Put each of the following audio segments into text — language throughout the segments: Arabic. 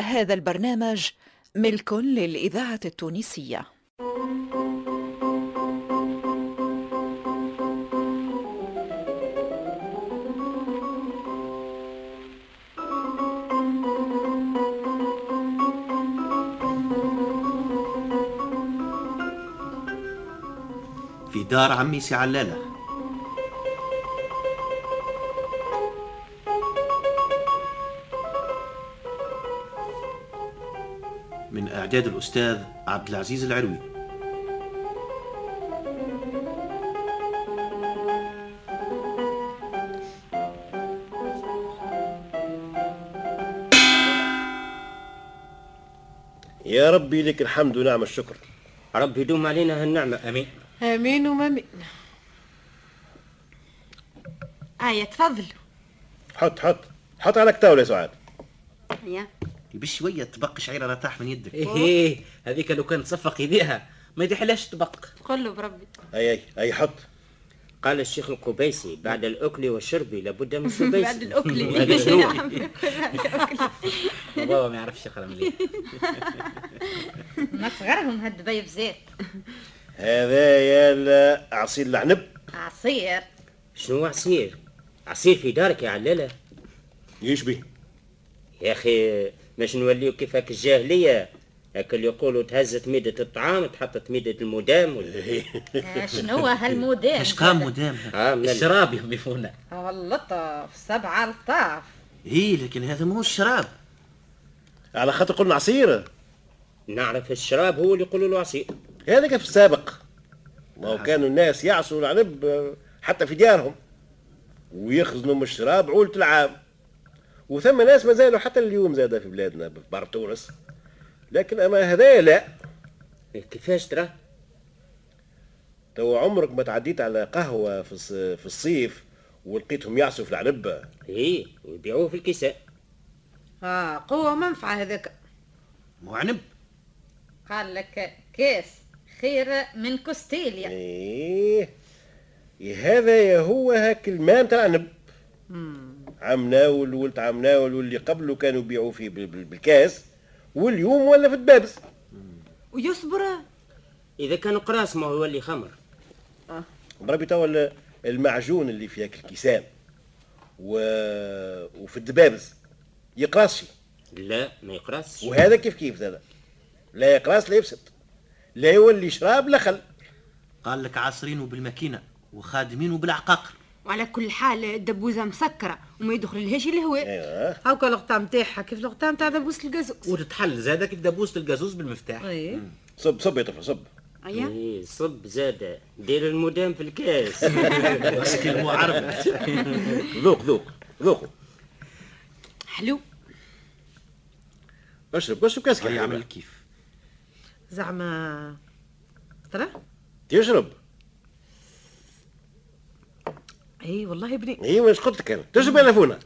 هذا البرنامج ملك للإذاعة التونسية في دار عمي سي علالة من إعداد الأستاذ عبد العزيز العروي يا ربي لك الحمد ونعم الشكر ربي يدوم علينا هالنعمة أمين امين ومامين آية تفضل حط حط حط على كتاول يا سعاد يا بشوية طبق شعيرة لا طاح من يدك إيه إيه هذيك لو كان تصفق يديها ما يدحلاش طبق قل له بربي اي اي اي حط قال الشيخ القبيسي بعد الأكل والشرب لابد من بعد السبيسي الأكل هذا شنو؟ نعم، بعد الأكل بابا ما يعرفش يقرا مليح ما صغرهم هالدبي بزيت هذا يا ال- عصير العنب عصير شنو عصير؟ عصير في دارك يا علالة يشبه يا أخي باش نوليو كيف هاك الجاهلية هاك اللي يقولوا تهزت ميدة الطعام تحطت ميدة المدام ولا شنو هالموديل اش قام مدامها آه من ال- الشراب يهم يفونا اللطف سبعة لطاف هي لكن هذا ماهوش شراب على خاطر قلنا عصير نعرف الشراب هو اللي يقولوا له عصير هذا كان في السابق ما هو كانوا الناس يعصوا العنب آه، حتى في ديارهم ويخزنوا من الشراب عولة العام وثم ناس ما زالوا حتى اليوم زاد في بلادنا في بر تونس لكن اما هذا لا إيه، كيفاش ترى؟ تو عمرك ما تعديت على قهوه في الص- في الصيف ولقيتهم يعصوا في العنب إيه ويبيعوه في الكيسان اه قوة منفعة هذاك مو عنب قال لك كاس خير من كوستيليا ايه هذا يا هو هاك الماء نتاع العنب عم ناول ولد عم ناول واللي قبله كانوا يبيعوا فيه بال- بال- بالكاس واليوم ولا في الدبابس ويصبر إذا كان قراص ما هو يولي خمر ضربي توا ال- المعجون اللي في هاك الكيسان و... وفي الدبابس يقرصي لا ما يقراصش وهذا كيف كيف هذا لا يقراص لا يفسد لا يولي شراب لا خل قال لك عاصرين وبالماكينة وخادمين وبالعقاقر وعلى كل حال الدبوزة مسكرة وما يدخل لهاش الهواء ايوه هاكا الغطاء متاعها كيف الغطاء متاع دبوس القازوز وتتحل زادك بدبوسة القازوز بالمفتاح أيوة. اي صب صب يا طفل صب أيا إيه صب زادة دير المدام في الكاس مسكين هو عربي ذوق ذوق ذوقوا حلو اشرب اشرب كاسك هي يا عمل حبيبي كيف زعما ترى تشرب اي إيه، والله بني ايوه ايش قلت لك انا تشرب يا لفونه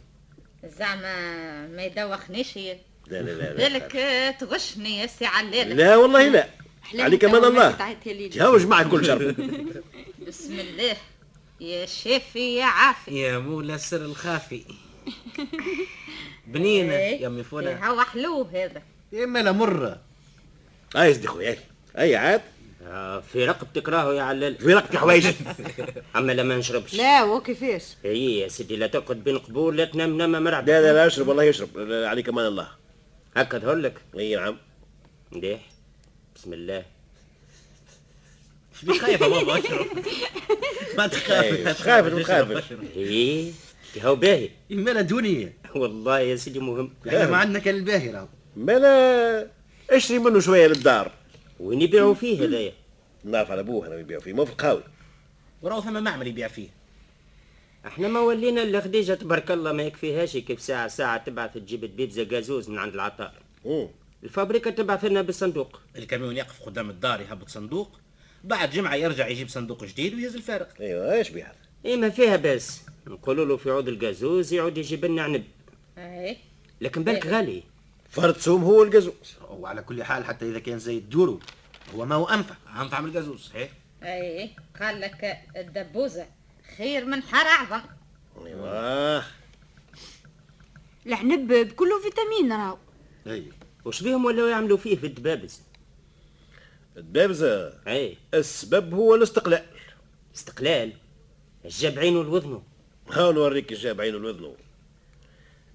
زعما ما يدوخنيش هي لا لا لا لا, بالك آه، تغشني يا سي علالة لا والله لا أحلام عليك امان التوابل الله تعيط يا ليلى. تهوج معك كل شرب بسم الله يا شافي يا عافي يا مولا السر الخافي بنينة إيه، يا أمي إيه، فونا هو حلو هذا يا مالا مرة هاي صديق خويا هاي. هاي عاد آه في رقبتك راهو يا علال في رقك حوايج اما لا ما نشربش لا وكيفاش هي يا سيدي لا ترقد بين قبور لا تنام نام مرعب لا لا لا اشرب والله يشرب لا، لا، عليك امان الله هكا ظهر لك اي نعم مليح بسم الله شبي خايفة بابا أشرب ما إيه، تخاف خافت مخافت أشرب هي هاو باهي يا مالا دنيا والله يا سيدي مهم يعني احنا ما عندنا كان الباهي راهو مالا اشري منه شويه للدار وين يبيعوا فيه هذايا نعرف على ابوه انا يبيعوا فيه ما في القهوي وراهو ثم معمل يبيع فيه احنا ما ولينا الا خديجه تبارك الله ما يكفيهاش كيف ساعه ساعه تبعث تجيب بيتزا جازوز من عند العطار مم. الفابريكا تبعث لنا بالصندوق الكاميون يقف قدام الدار يهبط صندوق بعد جمعة يرجع يجيب صندوق جديد ويهز الفارق ايوه ايش بيه هذا ايه ما فيها باس نقولوا له في عود الجازوز يعود يجيب لنا عنب اي لكن بالك إيه. غالي فرد سوم هو الجزوز وعلى كل حال حتى إذا كان زايد دوره هو ما هو أنفع أنفع من القازوز صحيح اي إيه، قال لك الدبوزة خير من حار اعظم ايوه العنب بكله فيتامين راهو اي وش بيهم ولاو يعملوا فيه في الدبابز الدبابزة اي السبب هو الاستقلال استقلال الجبعين والوذنه ها نوريك الجابعين والوذنو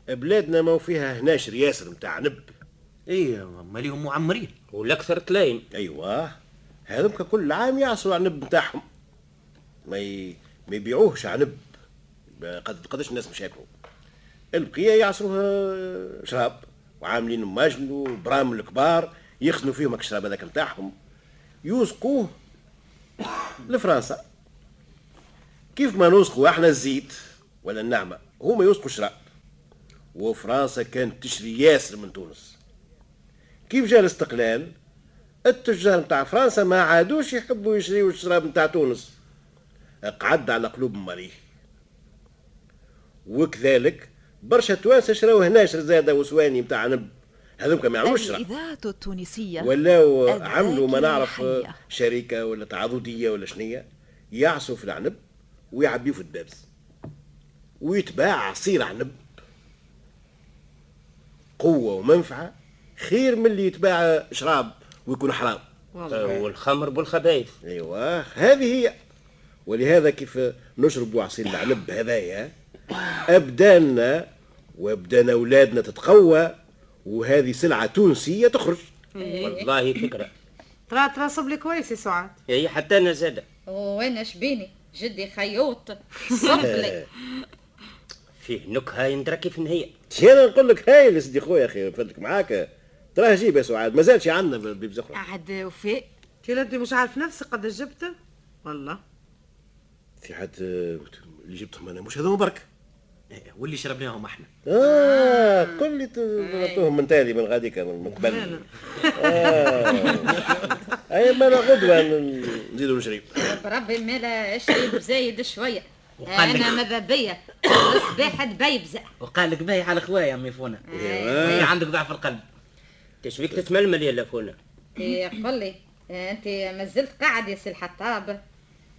بلادنا ما فيها هناش ياسر متاع نب اي ماليهم إيه، معمرين والاكثر تلاين ايوه هذمك كل عام يعصروا عنب نتاعهم ما ي... ما يبيعوهش عنب ما قد قداش الناس مش ياكلوا البقيه يعصروها شراب وعاملين ماجن وبرام الكبار يخزنوا فيهم هاك الشراب هذاك نتاعهم يوثقوه لفرنسا كيف ما نوثقوا احنا الزيت ولا النعمه هما يوثقوا الشراب وفرنسا كانت تشري ياسر من تونس كيف جاء الاستقلال التجار نتاع فرنسا ما عادوش يحبوا يشريوا الشراب نتاع تونس قعد على قلوب مريه وكذلك برشا توانسه شراو هنا زاده وسواني نتاع عنب هذوك ما يعملوش شراب الإذاعة التونسية ولاو الذاكرة عملوا ما نعرف الحية. شركه ولا تعاضديه ولا شنيه يعصوا في العنب ويعبيوا في الدبس ويتباع عصير عنب قوه ومنفعه خير من اللي يتباع شراب ويكون حرام آه، والخمر بالخبايث ايوه هذه هي ولهذا كيف نشربوا عصير العنب هذايا ابداننا وابدان اولادنا تتقوى وهذه سلعه تونسيه تخرج إيه. والله فكره ترى ترى صب لي كويس يا سعاد هي حتى انا زاده وانا شبيني جدي خيوط صبلي فيه نكهه يندرك في النهايه انا نقول لك هاي يا سيدي خويا اخي فدك معاك تراه جيب يا سعاد ما زالش عندنا بالبيب زخرف عاد وفاء كي انت مش عارف نفسك قد جبته والله في حد اللي جبتهم انا مش هذوما برك إيه، واللي شربناهم احنا آه، اه آه. قل لي إيه. طلبتهم من تالي من غاديك من من قبل آه. اي ما انا غدوه ن- نزيدوا نشري بربي مالا اشرب زايد شويه وقال لك- انا ماذا بيا الصباح دبيبزه وقال لك باهي على خويا امي فونا هي عندك ضعف القلب تشبيك إيه. تتململ يا لافونا يقول إيه، لي إيه، انت مازلت قاعد يا سي الحطاب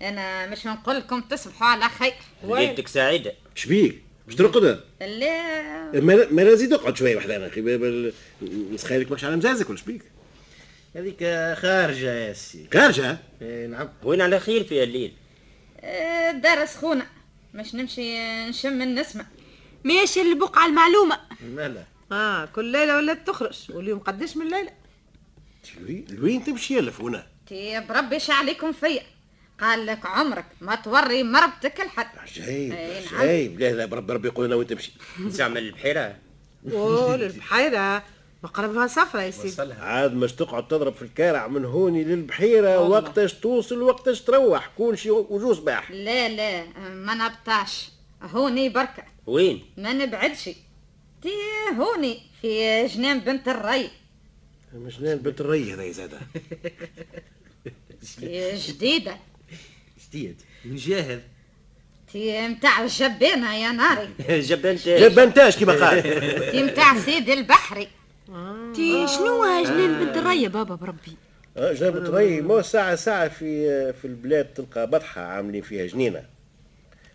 انا مش نقول لكم تصبحوا على خير ليلتك سعيده شبيك باش ترقدها لا ما ما لازم تقعد شويه وحده انا اخي بال- بال- نسخيلك ماكش على مزازك ولا شبيك هذيك خارجه يا سي خارجه إيه، نعم وين على خير في الليل آه، دار سخونه مش نمشي نشم النسمه ماشي البقعه المعلومه مالا اه كل ليله ولات تخرج واليوم قداش من ليله لوين- لوين تمشي يا لفونه تي بربي ايش طيب، عليكم فيا قال لك عمرك ما توري مربتك الحد عجيب أي نعم. عجيب لا لا بربي ربي يقول لنا وين تمشي زعما البحيره قول البحيره مقربها صفرة يا سيدي وصلها عاد مش تقعد تضرب في الكارع من هوني للبحيره وقتاش توصل وقتاش تروح كون شي وجوه صباح لا لا ما نبطاش هوني بركه وين ما نبعدش تي هوني في جنان بنت الري مش نال بنت الري هذا يا زاده تي جديده جديد من جاهز تي متاع الجبانه يا ناري جبان جبنتاش كما قال تي متاع سيد البحري تي شنو جنان بنت الريه بابا بربي آه، جنان بنت الري مو ساعه ساعه في في البلاد تلقى بطحه عاملين فيها جنينه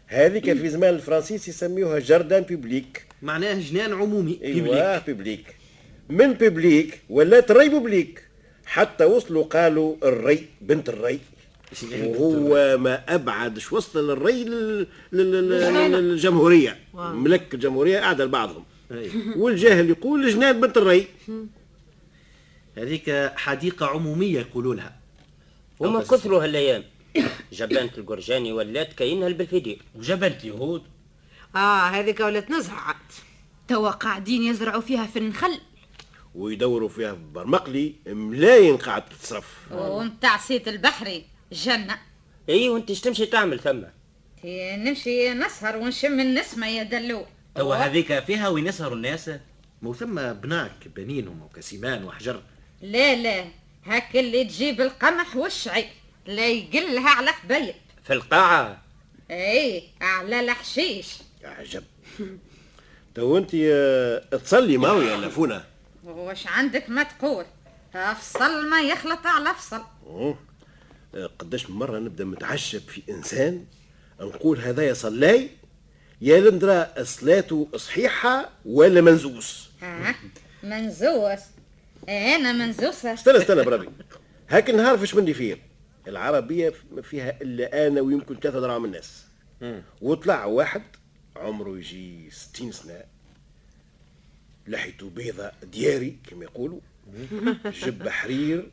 هذيك في زمان الفرنسيس يسميوها جاردان بيبليك معناه جنان عمومي ايوه بيبليك من بيبليك ولات الري بيبليك حتى وصلوا قالوا الري بنت الري وهو ما ابعدش وصل للري لل... لل... لل... للجمهوريه ملك الجمهوريه قاعده لبعضهم أي. والجاهل يقول جنان بنت الري هذيك حديقه عموميه يقولوا لها هما كثروا هالايام جبانة القرجاني ولات كاينها البلفدير وجبنت يهود آه، اه هذيك ولات نزهه عاد توا قاعدين يزرعوا فيها في النخل ويدوروا فيها في برمقلي ملاين قاعد تتصرف ومتاع سيد البحري جنه اي وانت اش تمشي تعمل ثم تي نمشي نسهر ونشم النسمه يا دلو توا هذيك فيها وين يسهروا الناس مو ثم بناك بنينهم وكسيمان وحجر لا لا هاك اللي تجيب القمح والشعير لا يقلها على حبيب في القاعه اي على الحشيش عجب تو انت آه، تصلي ماوي يا لافونه وش عندك ما تقول افصل ما يخلط على افصل أوه. آه، قداش من مرة نبدا متعشب في إنسان نقول هذايا صلاي يا لندرا صلاته صحيحة ولا منزوس ها منزوس إيه، انا منزوسه استنى استنى بربي هاك النهار فاش مني فيه العربيه ما فيها الا انا ويمكن ثلاثه دراهم الناس وطلع واحد عمره يجي 60 سنه لحيته بيضة دياري كما يقولوا جب حرير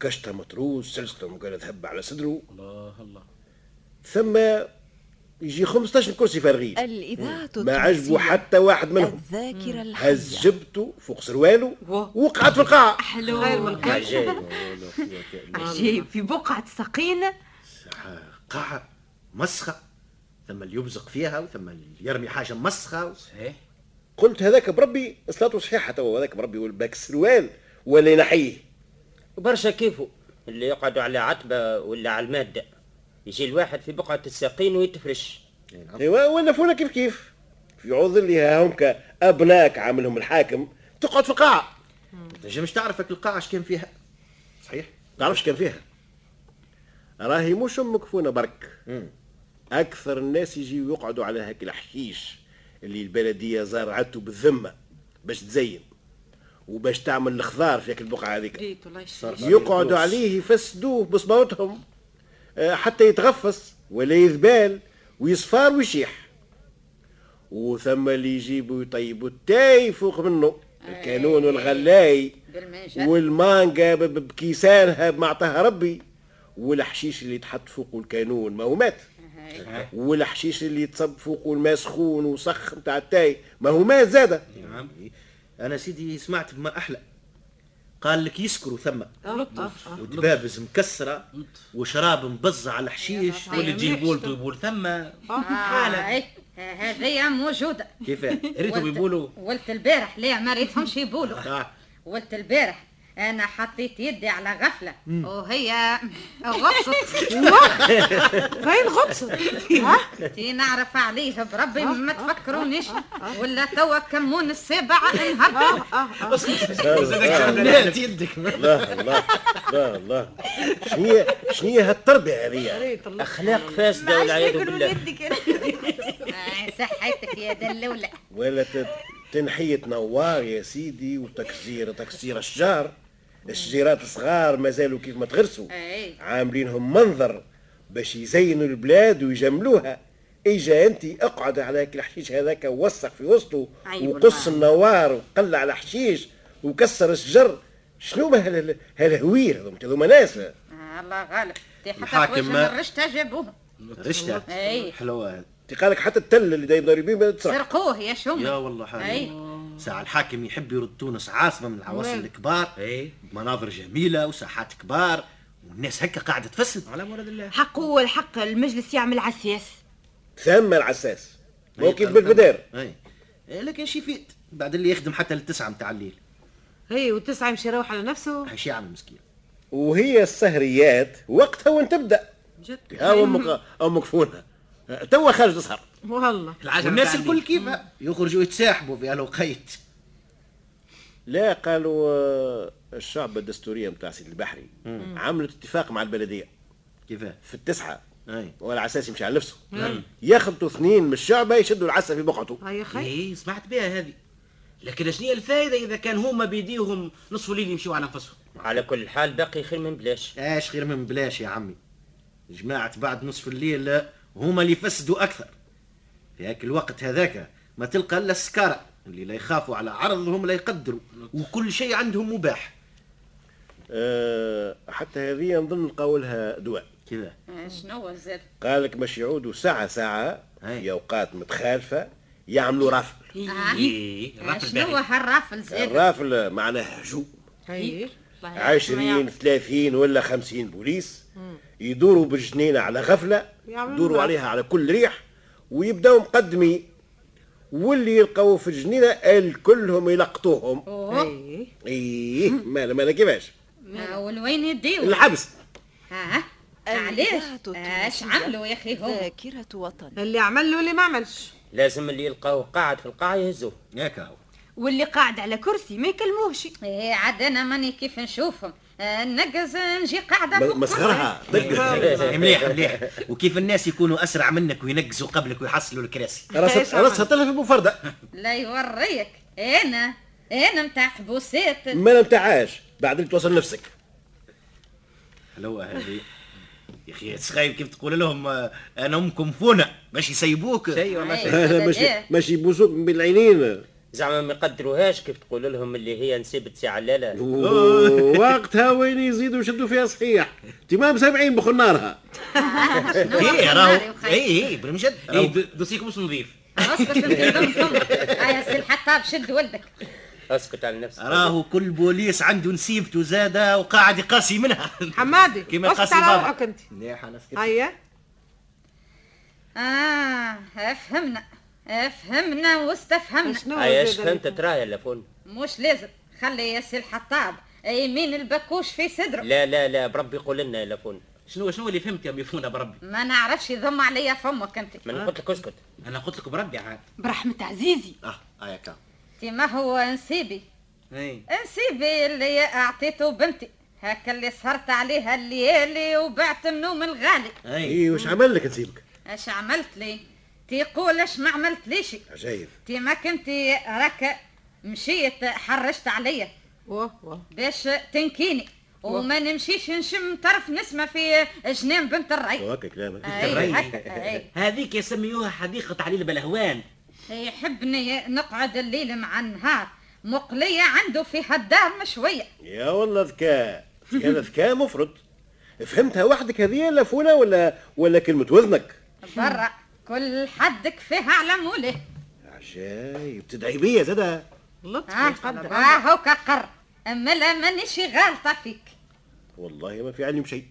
كشطة متروس سلسلة وقال ذهب على صدره الله الله ثم يجي 15 كرسي فارغين الإذاعة ما عجبوا حتى واحد منهم الذاكرة الحية هز جبته فوق سرواله وقعت في القاع حلو غير من القلب. عجايب عجيب في بقعة سقينة قاعة مسخة ثم اللي يبزق فيها وثم اللي يرمي حاجة مسخة صحيح قلت هذاك بربي صلاته صحيحه توا هذاك بربي والباك السروال ولا ينحيه برشا كيفه اللي يقعدوا على عتبة ولا على المادة يجي الواحد في بقعة الساقين ويتفرش ايوا ولا فونا كيف كيف في عوض اللي ها همك ابناك عاملهم الحاكم تقعد في القاعه تنجمش تعرفك القاعة اش كان فيها صحيح تعرفش كان فيها راهي مش امك فونا برك اكثر الناس يجيو يقعدوا على هاك الحشيش اللي البلديه زرعته بالذمه باش تزين وباش تعمل الخضار في هاك البقعه هذيك جيت الله يشفيك يقعدوا عليه يفسدوه بصباوتهم آه، حتى يتغفص ولا يذبال ويصفار ويشيح وثم اللي يجيبوا يطيبوا التاي فوق منه الكانون والغلاي بالمنشأ. والمانجا ب- ب- بكيسانها بمعطاها ربي والحشيش اللي يتحط فوق الكانون ما هو مات والحشيش اللي يتصب فوق الماء سخون وسخ نتاع التاي ما هو مات زاده نعم انا يعني سيدي سمعت بما احلى قال لك يسكروا ثم طيب. لطف آه. ودبابز مكسرة وشراب مبزة على الحشيش واللي تجيب بولته يبول ثم آه، إيه. آه، هذه موجوده كيف ريتو ولت- بيبولوا ولت البارح لا ما ريتهمش يبولوا آه. ولت البارح انا حطيت يدي على غفله وهي غصت فين غطسة ها تي إيه، نعرف عليها بربي ما تفكرونيش ولا توا كمون السابعه آه، انهبت آه. لا يدك الله الله الله الله شنية شنية هالتربية هذه يعني. أخلاق فاسدة والعياذ بالله آه، صحتك يا دلوله ولا ت- تنحية نوار يا سيدي وتكسير تكسير الشجار الشجيرات الصغار مازالوا كيف ما تغرسوا أي. عاملينهم منظر باش يزينوا البلاد ويجملوها اجا انت اقعد على هاك الحشيش هذاك ووسخ في وسطه أيوة وقص النوار وقلع الحشيش وكسر الشجر شنو ما هال- هالهوير هذوما هذوما ناس آه، الله غالب تي حتى الحاكم حوايج ما- ما رشتها جابوها رشتة إيه. حلوة قالك حتى التل اللي دايب ضاربين ما تسرح سرقوه يا شوم يا والله حاجة أي. ساعة الحاكم يحب يرد تونس عاصمة من العواصم الكبار إيه. مناظر جميلة وساحات كبار والناس هكا قاعدة تفسد على مراد الله حقه هو الحق المجلس يعمل عسياس ثم العساس مو كيف أي، بالبدار اي إيه، لكن شي فيت بعد اللي يخدم حتى للتسعة متاع الليل هي وتسعة يمشي يروح على نفسه هاي شي عمل مسكين وهي السهريات وقتها وين تبدا جد ها امك امك فونها توا خارج تسهر والله العجب والناس الكل كيفها يخرجوا يتساحبوا في الوقيت لا قالوا آه، الشعب الدستوريه نتاع سيد البحري عملت اتفاق مع البلديه كيفاه في التسعه اي وعلى اساس يمشي على نفسه يخلطوا اثنين من الشعب يشدوا العسل في بقعته هيا خير اي سمعت بها هذه لكن شنو هي الفائده اذا كان هما بيديهم نصف الليل يمشيوا على انفسهم على كل حال باقي خير من بلاش اش خير من بلاش يا عمي جماعة بعد نصف الليل هما اللي فسدوا أكثر في هاك الوقت هذاك ما تلقى إلا السكارة اللي لا يخافوا على عرضهم لا يقدروا وكل شيء عندهم مباح أه حتى هذه نظن لقاو لها دواء كذا آه، شنو زاد قالك باش يعودوا ساعه ساعه أي. في اوقات متخالفه يعملوا رافل إيه. إيه. اي آه، راتب شنو باهي. هالرافل زاد الرافل معناها هجوم هي عشرين ثلاثين ولا خمسين بوليس يدوروا بالجنينة على غفلة يعملوا يدوروا بقى. عليها على كل ريح ويبداو مقدمي واللي يلقوا في الجنينة الكلهم يلقطوهم إيه. أوه. هي ايه مالا مالا كيفاش آه، والوين يديو الحبس ها الإذاعة علاش التونسية. اش عملوا يا اخي هم ذاكرة وطن اللي عمل له اللي ما عملش لازم اللي يلقاوه قاعد في القاعة يهزوه ياك هو واللي قاعد على كرسي ما يكلموهش إيه، عاد انا ماني كيف نشوفهم آه، نقز نجي قاعده فوق مسخرها إيه، مليح مليح وكيف الناس يكونوا أسرع منك وينقزوا قبلك ويحصلوا الكراسي رصت رصت لها في بوفردة لا يوريك انا انا متاع حبوسات ما نمتعاش بعد اللي توصل نفسك حلوه هذه يا اخي سخايب كيف تقول لهم آه، انا امكم فونه باش يسيبوك شيء وما شيء إيه. ماشي ماشي يبوسوك بالعينين زعما ما يقدروهاش كيف تقول لهم اللي هي نسيبت سي علالة وقتها وين يزيدوا يشدوا فيها صحيح تمام سامعين بخل نارها إيه، ايه ناري راهو وخير. ايه ايه بالمجد ايه د- دوسيكم مش نظيف اصبر تنضم فمك آه، يا سي الحطاب شد ولدك اسكت على نفسك راهو كل بوليس عنده نسيبته زاده وقاعد يقاسي منها حمادي كيما اسكت قاسي على أيوة. بابا روحك انت مليح انا سكت هيا اه فهمنا فهمنا واستفهمنا شنو عياش زاد عليك؟ فهمت تراها يا فون مش لازم خلي يا سي الحطاب يمين البكوش في صدره لا لا لا بربي قول لنا يا فون شنو شنو اللي فهمت يا ميفونه بربي ما نعرفش يضم عليا فمك انت ما انا قلت لك اسكت انا قلت لك بربي عاد برحمة عزيزي اه هيك انت ما هو نسيبي ايه نسيبي اللي اعطيته بنتي هكا اللي سهرت عليها الليالي وبعت النوم الغالي أه. اي اي وش عمل لك نسيبك اش عملت لي تيقول اش ما عملت ليش عجايب تي ما كنت راك مشيت حرشت عليا واه واه باش تنكيني وما نمشيش نشم طرف نسمه في جنان بنت الري هكا كلامك أي الري. هكا، أي. هذيك يسميوها حديقه علي بلهوان يحبني نقعد الليل مع النهار مقلية عنده في هالدار مشوية يا والله ذكاء هذا ذكاء مفرط فهمتها وحدك هذه لا فوله ولا ولا كلمه وذنك برا كل حد كفاها على موليه عجايب تدعي بيا زاده لطف ها يقدر. ها هوكا قر اما لا مانيش غالطة فيك والله ما في علم شيء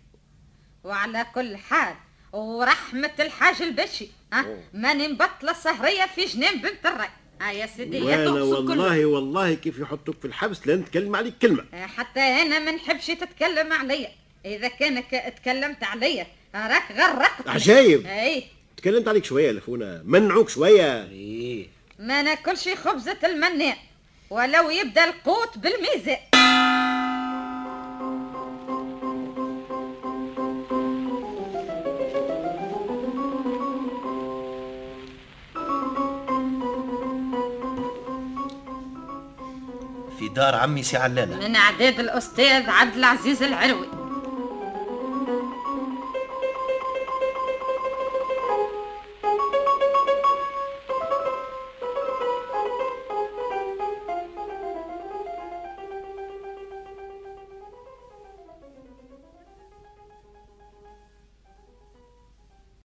وعلى كل حال ورحمة الحاج البشي ها ماني مبطلة سهرية في جنان بنت الري ها يا سيدي يا وانا تقصد كل- والله والله كيف يحطوك في الحبس لا نتكلم عليك كلمه آه، حتى انا ما نحبش تتكلم عليا اذا كانك تكلمت عليا راك غرقت عجايب اي تكلمت عليك شويه لفونا منعوك شويه إيه. ايه ما ناكلش خبزة المناء ولو يبدا القوت بالميزان في دار عمي سي علاله من اعداد الاستاذ عبد العزيز العروي